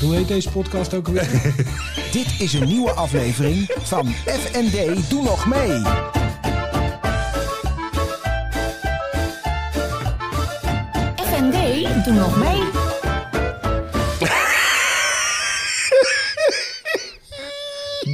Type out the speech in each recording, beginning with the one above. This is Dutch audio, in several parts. Hoe heet deze podcast ook alweer? Dit is een nieuwe aflevering van FND Doe Nog Mee. FND, doe nog mee.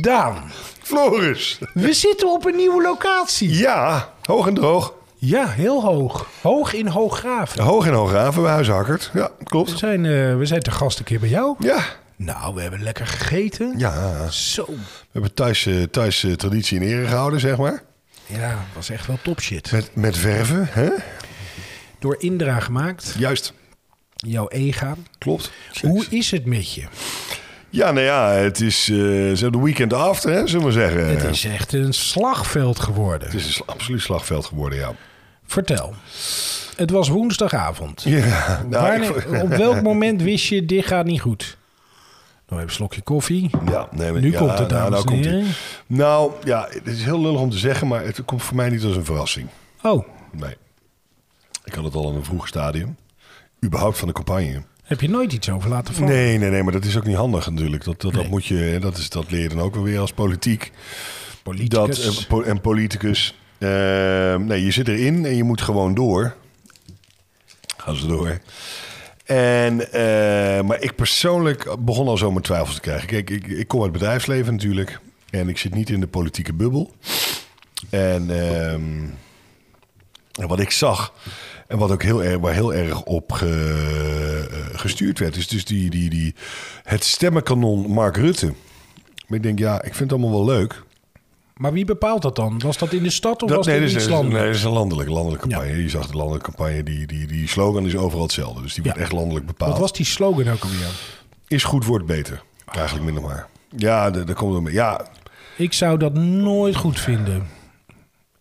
Daan, Floris. we zitten op een nieuwe locatie. Ja, hoog en droog. Ja, heel hoog. Oh. Hoog in Hooggraven. Hoog en hoog raven bij Huishakkert. Ja, We klopt. zijn, eh, we zijn te gast een keer bij jou. Ja, Nou, we hebben lekker gegeten. ja. We Zo. hebben thuis, eh, thuis eh, traditie in ere gehouden, zeg maar. Ja, was echt wel top shit. Met, met verven, hè? Door Indra gemaakt, Juist. jouw ega. Klopt. Hoe is het met je? Ja, nou ja, het is eh, zo de weekend after, hè, zullen we zeggen. Het is echt een slagveld geworden. Het is een sla- absoluut slagveld geworden, ja. Vertel. Het was woensdagavond. Ja, nou, Wanneer- ik- op welk moment wist je, dit gaat niet goed? Nog even een slokje koffie. ja, nee, maar- Nu ja, komt het, nou, dames nou en komt heren. het. Nou, ja, het is heel lullig om te zeggen, maar het komt voor mij niet als een verrassing. Oh, Nee. Ik had het al in een vroeg stadium. Überhaupt van de campagne. heb je nooit iets over laten vallen? Nee, nee, nee, maar dat is ook niet handig natuurlijk. Dat, dat, dat, moet je, dat, is, dat leer je dan ook wel weer als politiek. Politicus. Dat, eh, en, po- en politicus. Eh, nee, je zit erin en je moet gewoon door. Gaan ze door. En, eh, maar ik persoonlijk begon al zo mijn twijfels te krijgen. Kijk, ik, ik kom uit het bedrijfsleven natuurlijk. En ik zit niet in de politieke bubbel. En, ehm, en wat ik zag, en wat ook heel erg, waar heel erg op ge- eh, gestuurd werd, is dus die, die, die, het stemmenkanon Mark Rutte. Maar ik denk, ja, ik vind het allemaal wel leuk. Maar wie bepaalt dat dan? Was dat in de stad of Dat, was nee, dat dat in iets is, dat is- landelijk? nee, dat is een landelijke, landelijke campagne. Je zag de landelijke campagne, die, die, die slogan is overal hetzelfde. Dus die Ja. wordt echt landelijk bepaald. Wat was die slogan ook alweer? Is goed, wordt beter. Eigenlijk minder maar. Ja, daar daar komt het mee. Ja, Ik zou dat nooit goed vinden.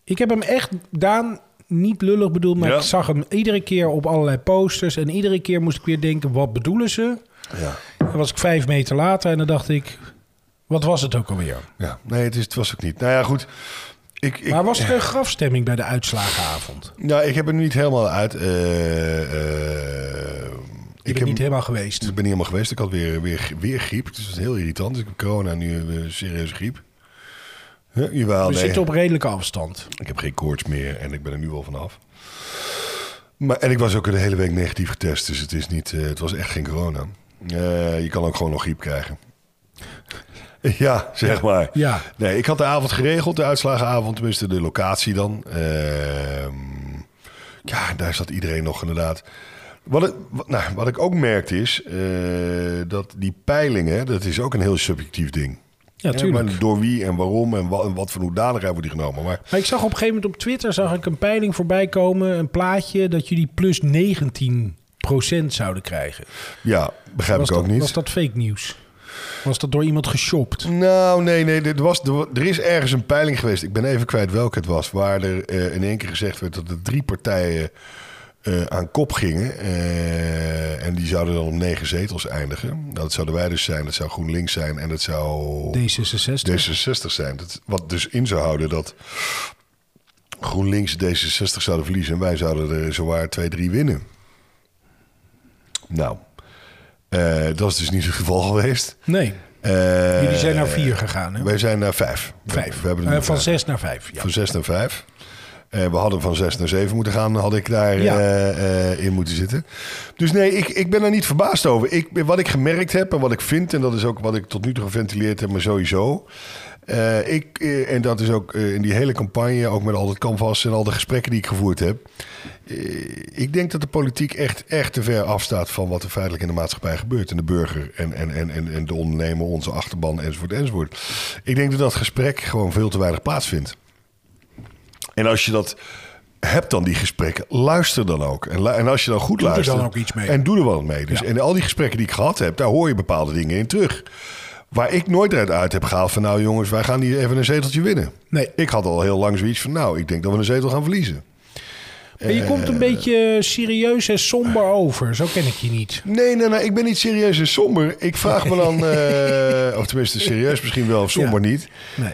Ik heb hem echt, Daan, niet lullig bedoeld, maar Ja. ik zag hem iedere keer op allerlei posters. En iedere keer moest ik weer denken, wat bedoelen ze? ja. Dan was ik vijf meter later en dan dacht ik, wat was het ook alweer? ja. Nee, het, is, het was ook niet. Nou ja, goed. Ik, ik, maar was er een grafstemming bij de uitslagenavond? nou, ik heb er nu niet helemaal uit. eh, eh, Ik ik ben heb, niet helemaal geweest. ik ben niet helemaal geweest. Ik had weer, weer, weer griep. Dus dat is heel irritant. Dus ik heb corona nu eh, serieuze griep. Huh? Jawel, We nee. zitten op redelijke afstand. Ik heb geen koorts meer en ik ben er nu al vanaf. Maar, en ik was ook de hele week negatief getest, dus het, is niet, eh, het was echt geen corona. Eh, je kan ook gewoon nog griep krijgen. Ja, zeg maar. ja. Nee, ik had de avond geregeld, de uitslagenavond, tenminste de locatie dan. Ehm, ja, daar zat iedereen nog inderdaad. Wat ik, wat, nou, wat ik ook merkte is eh, dat die peilingen, dat is ook een heel subjectief ding. Ja, Hè, tuurlijk. maar door wie en waarom en wat, en wat voor hoedanigheid wordt die genomen. Maar Maar ik zag op een gegeven moment op Twitter zag ik een peiling voorbij komen, een plaatje, dat jullie plus 19 zouden krijgen. Ja, begrijp was ik ook dat, niet. Was dat fake nieuws? Was dat door iemand geshopt? Nou, nee, nee. dit was, er wa- er is ergens een peiling geweest. Ik ben even kwijt welke het was. Waar er eh, in één keer gezegd werd dat er drie partijen eh, aan kop gingen. eh, en die zouden dan om negen zetels eindigen. Nou, dat zouden wij dus zijn. Dat zou GroenLinks zijn. En dat zou D66? D66 zijn. Dat, wat dus in zou houden dat GroenLinks D66 zouden verliezen. En wij zouden er zowaar 2-3 winnen. Nou, eh, dat is dus niet het geval geweest. Nee. Eh, Jullie zijn naar vier gegaan, hè? Wij zijn naar vijf. We- Vijf. We hebben Eh, er van vijf. zes naar vijf. Ja. Van zes naar vijf. Eh, we hadden van zes naar zeven moeten gaan. Dan had ik daar Ja. eh, eh, in moeten zitten. Dus nee, ik, ik ben er niet verbaasd over. Ik, wat ik gemerkt heb en wat ik vind... en dat is ook wat ik tot nu toe geventileerd heb, maar sowieso... eh, ik, eh, en dat is ook eh, in die hele campagne... ook met al dat canvas en al de gesprekken die ik gevoerd heb... eh, ik denk dat de politiek echt, echt te ver afstaat... van wat er feitelijk in de maatschappij gebeurt. En de burger en, en, en, en, en de ondernemer, onze achterban, enzovoort, enzovoort. Ik denk dat dat gesprek gewoon veel te weinig plaatsvindt. En als je dat hebt dan die gesprekken, luister dan ook. En, lu- en als je dan goed Doe er luistert... dan ook iets mee. En doe er wel mee. Dus, Ja. En al die gesprekken die ik gehad heb, daar hoor je bepaalde dingen in terug. Waar ik nooit eruit uit heb gehaald van... nou jongens, wij gaan hier even een zeteltje winnen. Nee. Ik had al heel lang zoiets van... nou, ik denk dat we een zetel gaan verliezen. Maar je komt een Eh, beetje serieus en somber over. Zo ken ik je niet. Nee, nee, nee, ik ben niet serieus en somber. Ik vraag me dan... eh, of tenminste, serieus misschien wel, of somber Ja. niet. Nee.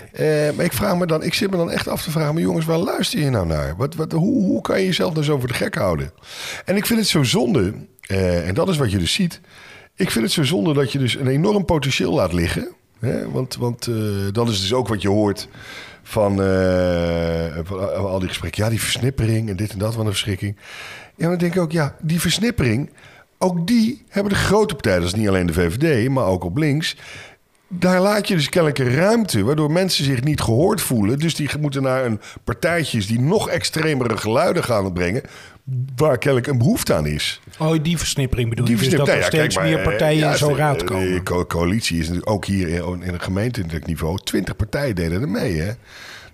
Eh, maar ik vraag me dan... Ik zit me dan echt af te vragen... maar jongens, waar luister je nou naar? Wat, wat, hoe, hoe kan je jezelf nou zo voor de gek houden? En ik vind het zo zonde... eh, en dat is wat je dus ziet... Ik vind het zo zonde dat je dus een enorm potentieel laat liggen. Hè? Want, want eh, dat is dus ook wat je hoort van, eh, van al die gesprekken. Ja, die versnippering en dit en dat, wat een verschrikking. Ja, maar dan denk ik ook, ja, die versnippering... ook die hebben de grote partijen, dat is niet alleen de VVD, maar ook op links... Daar laat je dus kennelijk een ruimte, waardoor mensen zich niet gehoord voelen. Dus die moeten naar een partijtjes die nog extremere geluiden gaan brengen, waar kennelijk een behoefte aan is. Oh, die versnippering bedoel Die je? Dus versnipt- dat er nou ja, steeds kijk maar, meer eh, partijen ja, in zo'n de- raad de- komen. De co- coalitie is natuurlijk ook hier in, in een gemeentelijk niveau. Twintig partijen deden er mee. Hè? Er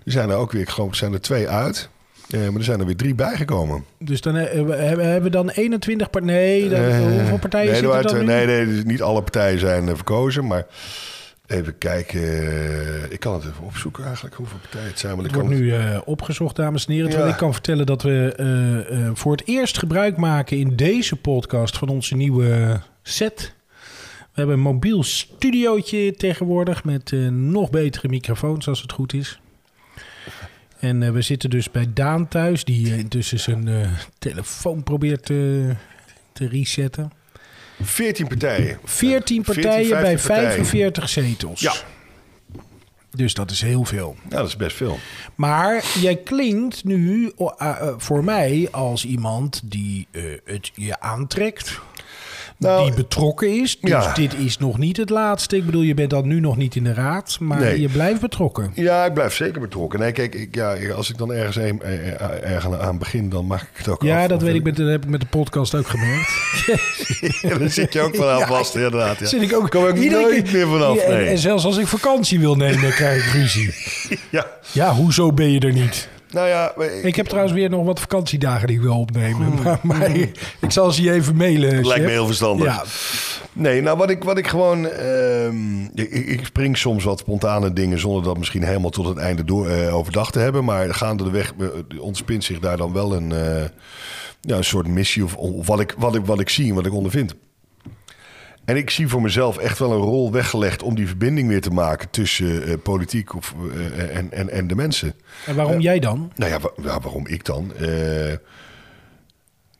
zijn er ook weer, ik geloof, zijn er twee uit. Eh, maar er zijn er weer drie bijgekomen. Dus dan eh, we- hebben hebben we dan 21 partijen. Nee, dan- Eh, hoeveel partijen nee, er zitten waren er dan twee- nu? Nee, nee, dus niet alle partijen zijn eh, verkozen, maar... Even kijken. eh, Ik kan het even opzoeken eigenlijk, hoeveel partijen het zijn. Maar ik Het kan wordt het- nu eh, opgezocht, dames en heren. Terwijl Ja. ik kan vertellen dat we eh, eh, voor het eerst gebruik maken in deze podcast van onze nieuwe eh, set. We hebben een mobiel studiootje tegenwoordig met eh, nog betere microfoons als het goed is. En eh, we zitten dus bij Daan thuis, die eh, intussen zijn eh, telefoon probeert eh, te resetten. 14 partijen. 14 partijen 14, bij 15 partijen. 45 zetels. Ja. Dus dat is heel veel. Ja, dat is best veel. Maar jij klinkt nu o- eh, eh, voor mij als iemand die eh, het je aantrekt. Nou, die betrokken is. Dus ja. dit is nog niet het laatste. Ik bedoel, je bent dan nu nog niet in de raad. Maar Nee. je blijft betrokken. Ja, ik blijf zeker betrokken. Nee, kijk, ik, ja, als ik dan ergens een, eh, eh, ergens aan begin, dan maak ik het ook Ja, af. dat Of- weet ik. Met, dat heb ik met de podcast ook gemerkt. Ja, dan zit je ook vanaf vast, inderdaad. Ja. Zit ik ook, Kom ik iedere nooit keer- meer vanaf, Ja, en- nee. en zelfs als ik vakantie wil nemen, krijg ik ruzie. Ja. Ja, hoezo ben je er niet? Nou ja, maar Ik heb trouwens weer nog wat vakantiedagen die ik wil opnemen. Maar, maar ik zal ze je even mailen. lijkt Sjef. me heel verstandig. Ja. Nee, nou wat ik, wat ik gewoon... ehm, ik, ik spring soms wat spontane dingen zonder dat misschien helemaal tot het einde door, eh, overdag te hebben. Maar gaandeweg eh, ontspint zich daar dan wel een, eh, ja, een soort missie of, of wat, ik, wat, ik, wat ik zie en wat ik ondervind. En ik zie voor mezelf echt wel een rol weggelegd om die verbinding weer te maken tussen eh, politiek of, eh, en, en, en de mensen. En waarom jij dan? Nou ja, wa- ja, waarom ik dan? Eh,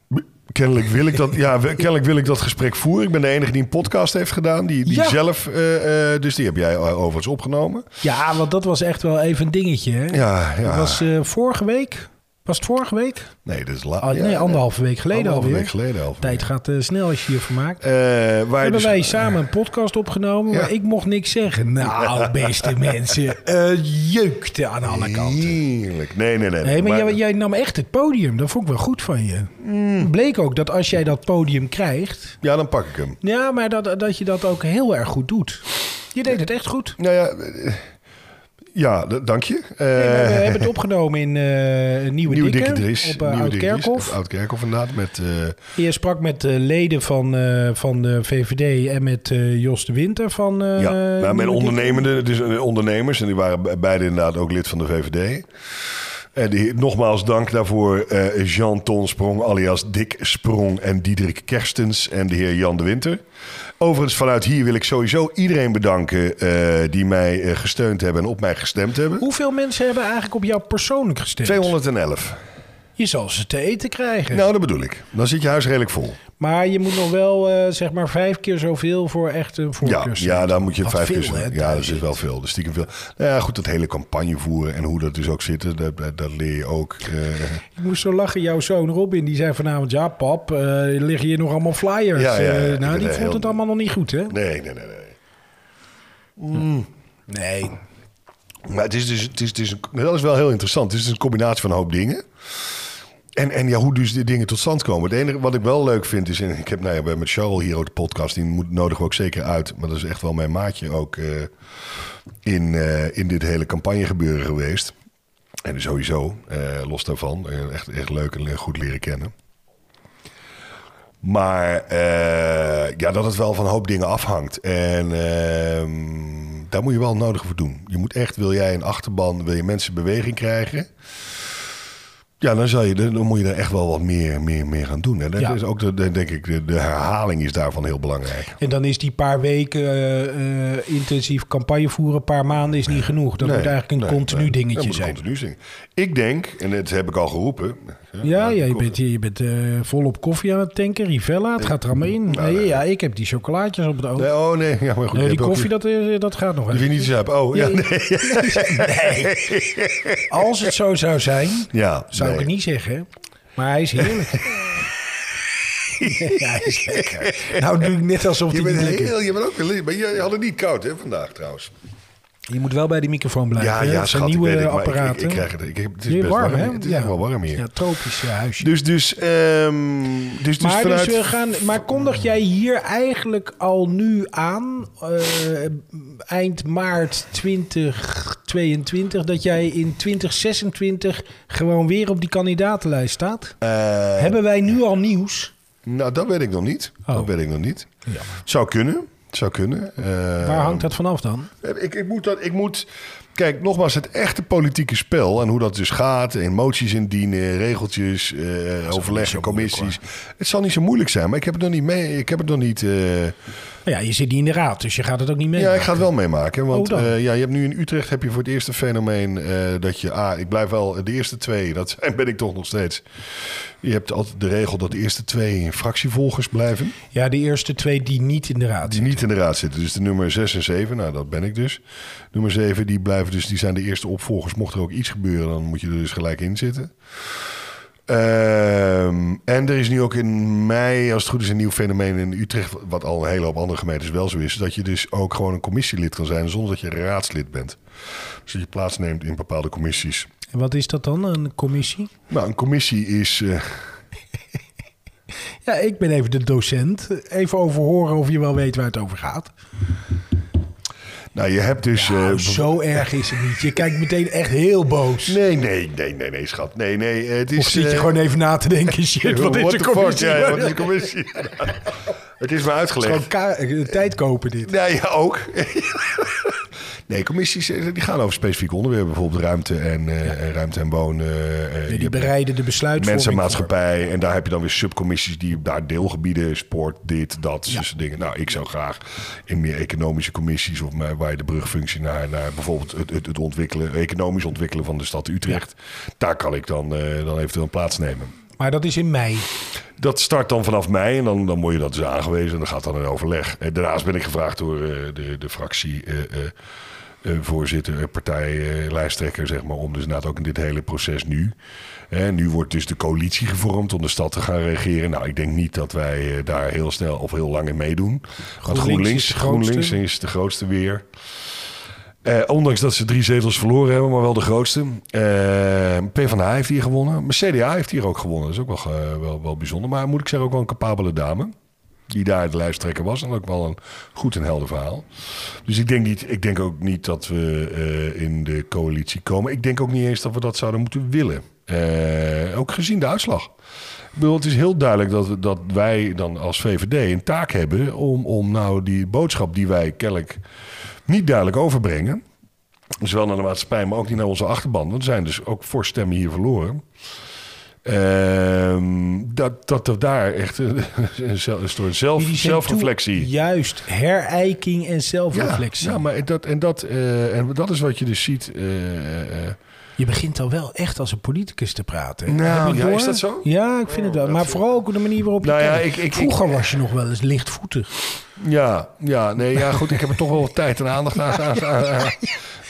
b- kennelijk, wil ik dat, ja, we- kennelijk wil ik dat gesprek voeren. Ik ben de enige die een podcast heeft gedaan. Die, die Ja. zelf, eh, eh, dus die heb jij eh, overigens opgenomen. Ja, want dat was echt wel even een dingetje. Hè? Ja, Dat ja. was eh, vorige week. Was het vorige week? nee, dat is la- Ah, ja, nee, anderhalve week geleden anderhalve alweer. week geleden al. Tijd gaat eh, snel als je hiervan maakt. waar Hebben dus- wij samen een podcast opgenomen, maar Ja. ik mocht niks zeggen. Nou, beste mensen, eh jeukte aan alle kanten. Heerlijk. Nee, nee, nee. Nee, maar, Maar- jij, jij nam echt het podium. Dat vond ik wel goed van je. Mm. Bleek ook dat als jij dat podium krijgt, Ja, dan pak ik hem. Ja, maar dat, dat je dat ook heel erg goed doet. Je deed het echt goed. Nou ja, eh, ja d- dank je. Eh, Nee, maar we hebben het opgenomen in eh, Nieuwe, Nieuwe Dikke, Dikke Dries. op eh, Nieuwe Dikke Dries, Oud-Kerkhof. op Oud-Kerkhof inderdaad. Met, eh, Je sprak met eh, leden van, eh, van de VVD en met eh, Jos de Winter van... eh, Ja, nou, met Nieuwe ondernemende, dus eh, ondernemers. En die waren be- beide inderdaad ook lid van de VVD. En die, nogmaals dank daarvoor eh, Jean Ton Sprong, alias Dick Sprong en Diederik Kerstens en de heer Jan de Winter. Overigens, vanuit hier wil ik sowieso iedereen bedanken eh, die mij eh, gesteund hebben en op mij gestemd hebben. Dikke. Hoeveel mensen hebben eigenlijk op jou persoonlijk gestemd? 211. Je zal ze te eten krijgen. Nou, dat bedoel ik. Dan zit je huis redelijk vol. Maar je moet nog wel eh, zeg maar vijf keer zoveel voor echt een Ja, voorkeur. ja, daar moet je Wat vijf veel, keer zo- hè, Ja, dat is wel veel. Dat is stiekem veel. Nou ja, goed, dat hele campagne voeren en hoe dat dus ook zit, dat, dat, dat leer je ook. eh, Ik moest zo lachen, jouw zoon Robin, die zei vanavond... Ja, pap, eh, er liggen hier nog allemaal flyers. Ja, ja, ja. Eh, Ik nou, ben die er vond heel- het allemaal nog niet goed, hè? Nee, nee, nee, nee. Nee. Maar het is dus, het is, het is een, dat is wel heel interessant. Het is dus een combinatie van een hoop dingen. En, en ja, hoe dus de dingen tot stand komen. Het enige wat ik wel leuk vind is... En ik heb nou ja, we hebben met Charles hier ook de podcast. Die moet, nodigen we ook zeker uit. Maar dat is echt wel mijn maatje ook... eh, in, eh, in dit hele campagnegebeuren geweest. En sowieso, eh, los daarvan. eh, echt, echt leuk en le- goed leren kennen. Maar eh, ja, dat het wel van een hoop dingen afhangt. En ehm, daar moet je wel het nodige voor doen. Je moet echt, wil jij een achterban, wil je mensen beweging krijgen... Ja, dan, zal je, dan moet je er echt wel wat meer, meer, meer gaan doen. Hè? Dat Ja. is ook, de, de- denk ik, de, de herhaling is daarvan heel belangrijk. En dan is die paar weken eh, eh, intensief campagne voeren, een paar maanden is niet genoeg. Dat Nee, moet eigenlijk een nee, continu nee. Dat dingetje moet een zijn. continu zijn. Ik denk, en dat heb ik al geroepen. Ja, ja, je ik- bent, je bent eh, volop koffie aan het tanken. Rivella, het gaat er allemaal in. Nee, ja, ik heb die chocolaatjes op het oog. Nee, oh nee, Nou, ja, maar nee, goed. je die hebt ook koffie, dat, is- eh, dat gaat nog Die even. vind je niet zuip. Oh, ja. Nee. Als het zo zou zijn, Ja, zou ik nee. het niet zeggen. Maar hij is heerlijk. ja, hij is lekker. Nou doe ik net alsof Je hij niet bent, lekker heel, je bent ook wel... Maar je, je had het niet koud, hè, vandaag trouwens. Je moet wel bij die microfoon blijven. Ja, hè? ja, Dat zijn schat, nieuwe ik weet het, maar ik- ik- apparaten. ik krijg het- ik heb- het is Weer best warm, warm hè? hier. Het is echt wel warm hier. Ja, tropisch eh, huisje. Dus, dus, ehm dus, dus maar, vanuit... dus we gaan, maar kondig jij hier eigenlijk al nu aan, eh, eind maart 2022, dat jij in 2026 gewoon weer op die kandidatenlijst staat? Eh, Hebben wij nu al nieuws? nou, dat weet ik nog niet. Oh. Dat weet ik nog niet. Zou kunnen. Zou kunnen. Eh, Waar hangt dat vanaf dan? Ik, ik moet dat, ik moet... Kijk, nogmaals, het echte politieke spel en hoe dat dus gaat... en moties indienen, regeltjes, eh overleggen, commissies... het zal niet zo moeilijk zijn, maar ik heb het nog niet mee... Ik heb het nog niet... eh, Nou ja, je zit niet in de raad, dus je gaat het ook niet mee. Ja, ik ga het wel meemaken. Want Oh, dan. eh, ja, je hebt nu in Utrecht heb je voor het eerste fenomeen eh, dat je... Ah, ik blijf wel de eerste twee. Dat zijn, ben ik toch nog steeds. Je hebt altijd de regel dat de eerste twee fractievolgers blijven. Ja, de eerste twee die niet in de raad Die zitten. niet in de raad zitten. Dus de nummer 6 en 7, nou dat ben ik dus. Nummer 7, die, blijven dus, die zijn de eerste opvolgers. Mocht er ook iets gebeuren, dan moet je er dus gelijk in zitten. Ehm, en er is nu ook in mei, als het goed is, een nieuw fenomeen in Utrecht. Wat al een hele hoop andere gemeentes wel zo is. Dat je dus ook gewoon een commissielid kan zijn zonder dat je raadslid bent. Dus dat je plaatsneemt in bepaalde commissies. En wat is dat dan, een commissie? Nou, een commissie is. eh, Ja, ik ben even de docent. Even overhoren of je wel weet waar het over gaat. nou, je hebt dus. eh, Nou, zo erg is het niet. Je kijkt meteen echt heel boos. Nee, nee, nee, nee, nee, schat. Nee, nee. Het is, Of zit je eh, gewoon even na te denken, shit, wat is What de the fuck? commissie? Ja, ja, wat is de Het commissie? het is me is uitgelegd. gewoon ka- eh, tijd kopen dit. Nee, ja, ook. nee, commissies eh, die gaan over specifieke onderwerpen. Bijvoorbeeld ruimte en, eh, en ruimte en wonen. eh, je Die hebt bereiden de besluitvorming Mensen en voor. maatschappij. En daar heb je dan weer subcommissies die daar deelgebieden, sport, dit, dat, dus dingen. Nou, ik zou graag in meer economische commissies of maar waar je de brugfunctie naar, naar bijvoorbeeld het, het, het ontwikkelen, economisch ontwikkelen van de stad Utrecht. Daar kan ik dan, eh dan eventueel plaatsnemen. Maar dat is in mei. Dat start dan vanaf mei en dan, dan word je dat dus aangewezen en dan gaat dan een overleg. En daarnaast ben ik gevraagd door eh, de, de fractie. eh, eh, eh, voorzitter, eh, partij, eh, lijsttrekker, zeg maar, om dus inderdaad ook in dit hele proces nu. Hè, nu wordt dus de coalitie gevormd om de stad te gaan regeren. Nou, ik denk niet dat wij eh, daar heel snel of heel lang in meedoen. Want GroenLinks is GroenLinks, de GroenLinks grootste. is de grootste weer. Eh, ondanks dat ze drie zetels verloren hebben, maar wel de grootste. Eh, PvdA heeft hier gewonnen. Maar CDA heeft hier ook gewonnen. Dat is ook wel, eh, wel, wel bijzonder. Maar moet ik zeggen, ook wel een capabele dame. Die daar de lijsttrekker was. En ook wel een goed en helder verhaal. Dus ik denk, niet, ik denk ook niet dat we eh, in de coalitie komen. Ik denk ook niet eens dat we dat zouden moeten willen. Eh, ook gezien de uitslag. Ik bedoel, het is heel duidelijk dat, we- dat wij dan als VVD een taak hebben om, om nou die boodschap die wij kennelijk niet duidelijk overbrengen. Zowel naar de maatschappij, maar ook niet naar onze achterban. Want er zijn dus ook voor stemmen hier verloren. Ehm, dat, dat er daar echt een, een soort zelf, Die zijn toe- zelfreflectie. Juist, herijking en zelfreflectie. Ja, ja, maar dat, en, dat, eh, en dat is wat je dus ziet. eh, eh, Je begint al wel echt als een politicus te praten. hè? Nou, Heb je het ja, door? is dat zo? Ja, ik vind het wel. Maar vooral ook de manier waarop je Nou ja, kijkt. ik- ik- ik- Vroeger was je nog wel eens lichtvoetig. ja, ja, nee, ja, goed. Ik heb er toch wel wat tijd en aandacht aan. aan- aan- aan-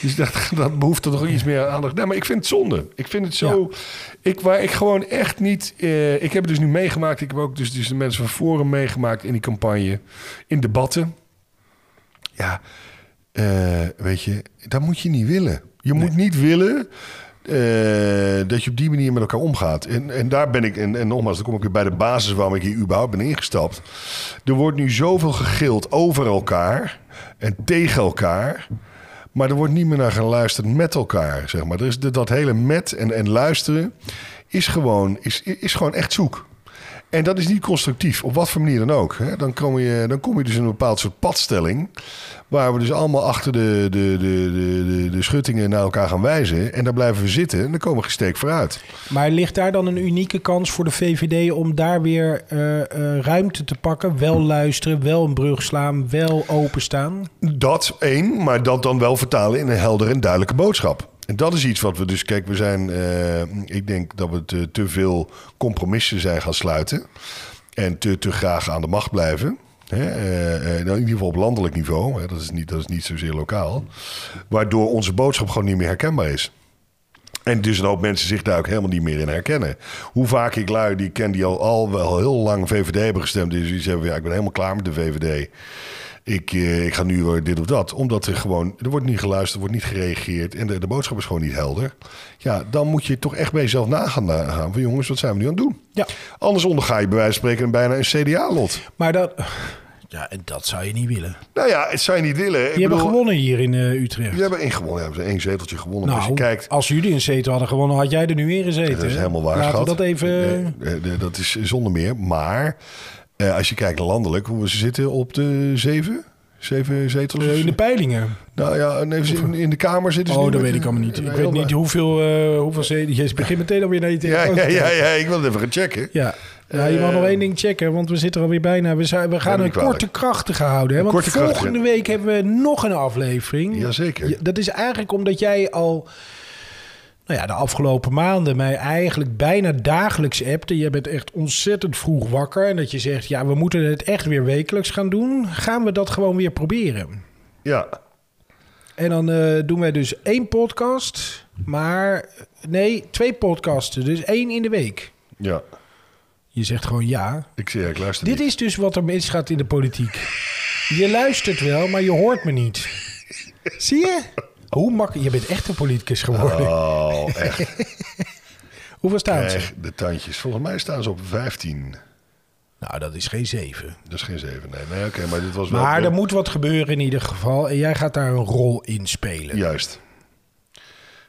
Dus dat, dat behoeft er toch iets meer aandacht. Nee, maar ik vind het zonde. Ik vind het zo. Ik, waar ik gewoon echt niet. eh, ik heb het dus nu meegemaakt. Ik heb ook dus, dus de mensen van Forum meegemaakt in die campagne. In debatten. Ja, eh, weet je, dat moet je niet willen. Je moet niet willen eh, dat je op die manier met elkaar omgaat. En, en daar ben ik, en, en nogmaals, dan kom ik weer bij de basis waarom ik hier überhaupt ben ingestapt. Er wordt nu zoveel gegild over elkaar en tegen elkaar. Maar er wordt niet meer naar geluisterd met elkaar, zeg maar. Dus Er is, dat hele met en, en luisteren is gewoon, is, is gewoon echt zoek. En dat is niet constructief, op wat voor manier dan ook. Hè? Dan, kom je, dan kom je dus in een bepaald soort padstelling. Waar we dus allemaal achter de, de, de, de, de, de schuttingen naar elkaar gaan wijzen. En daar blijven we zitten en dan komen we geen steek vooruit. Maar ligt daar dan een unieke kans voor de VVD om daar weer eh, eh, ruimte te pakken? Wel luisteren, wel een brug slaan, wel openstaan? Dat één, maar dat dan wel vertalen in een heldere en duidelijke boodschap. En dat is iets wat we dus, kijk, we zijn, eh, ik denk dat we te, te veel compromissen zijn gaan sluiten. En te, te graag aan de macht blijven. Hè, eh, eh, nou, in ieder geval op landelijk niveau, hè, dat, is niet, dat is niet zozeer lokaal. Waardoor onze boodschap gewoon niet meer herkenbaar is. En dus een hoop mensen zich daar ook helemaal niet meer in herkennen. Hoe vaak ik lui die ik ken die al, al wel heel lang VVD hebben gestemd. Dus die zeggen, ja, ik ben helemaal klaar met de VVD. Ik, eh, ik ga nu eh, dit of dat. Omdat er gewoon, er wordt niet geluisterd, er wordt niet gereageerd. En de, de boodschap is gewoon niet helder. Ja, dan moet je toch echt bij jezelf nagaan. nagaan van jongens, wat zijn we nu aan het doen? Ja. Anders onderga je bij wijze van spreken bijna een CDA-lot. Maar dat... Ja, en dat zou je niet willen. Nou ja, het zou je niet willen. Die hebben gewonnen hier in eh, Utrecht. Die hebben één gewonnen. Ja, hebben ze één zeteltje gewonnen. nou, als je kijkt, als jullie een zetel hadden gewonnen, had jij er nu weer in gezeten. Dat is hè? helemaal waar, Laten schat. we dat even... Nee, nee, dat is zonder meer. Maar eh, als je kijkt landelijk, hoe we ze zitten op de zeven, zeven zetels. eh, in de peilingen. Nou ja, nee, ze- in, in de Kamer zitten ze Oh, nu dat met weet ik een- allemaal niet. een Ik weet heel- niet hoeveel, eh hoeveel zeden... Je begint meteen alweer naar je Ja, telefoon. ja, te ja, kijken. ja, ik wil het even gaan checken. Ja. Ja, je mag Eh, nog één ding checken, want we zitten er alweer bijna. We, zijn, we gaan niet een kwalijk. korte krachtige houden. Hè? Want korte krachtige. volgende week hebben we nog een aflevering. Jazeker. Ja, dat is eigenlijk omdat jij al nou ja, de afgelopen maanden mij eigenlijk bijna dagelijks appte. Je bent echt ontzettend vroeg wakker. En dat je zegt, ja, we moeten het echt weer wekelijks gaan doen. Gaan we dat gewoon weer proberen? Ja. En dan eh, doen wij dus één podcast, maar nee, twee podcasten. Dus één in de week. ja, Je zegt gewoon ja. ik zie, ja, ik luister Dit niet. is dus wat er misgaat in de politiek. Je luistert wel, maar je hoort me niet. Zie je? Hoe makkelijk. Je bent echt een politicus geworden. Oh, echt. Hoeveel staan ze? echt, de tandjes. Volgens mij staan ze op 15. Nou, dat is geen zeven. Dat is geen 7. Nee, nee oké, maar dit was wel... Maar er moet wat gebeuren in ieder geval. En jij gaat daar een rol in spelen. Juist.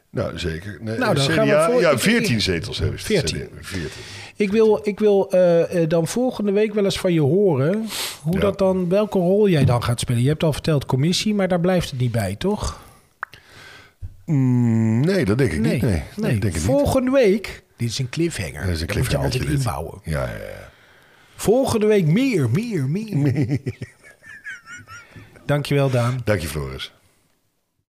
Nou, zeker. Nee, Nou, dan CDA, gaan we voor- ja, ik- 14 ik- zetels hebben ze. 14. 14. Ik wil, ik wil eh, eh, dan volgende week wel eens van je horen. Hoe Ja. dat dan, welke rol jij dan gaat spelen. Je hebt al verteld commissie, maar daar blijft het niet bij, toch? Mm, nee, dat denk ik niet. Nee, nee. Ik denk het niet. volgende week. Dit is een cliffhanger. Dat is een Dat moet je altijd cliffhangertje dit. inbouwen. Ja, ja, ja. Volgende week meer, meer, meer. Dankjewel, Daan. Dank je, Floris.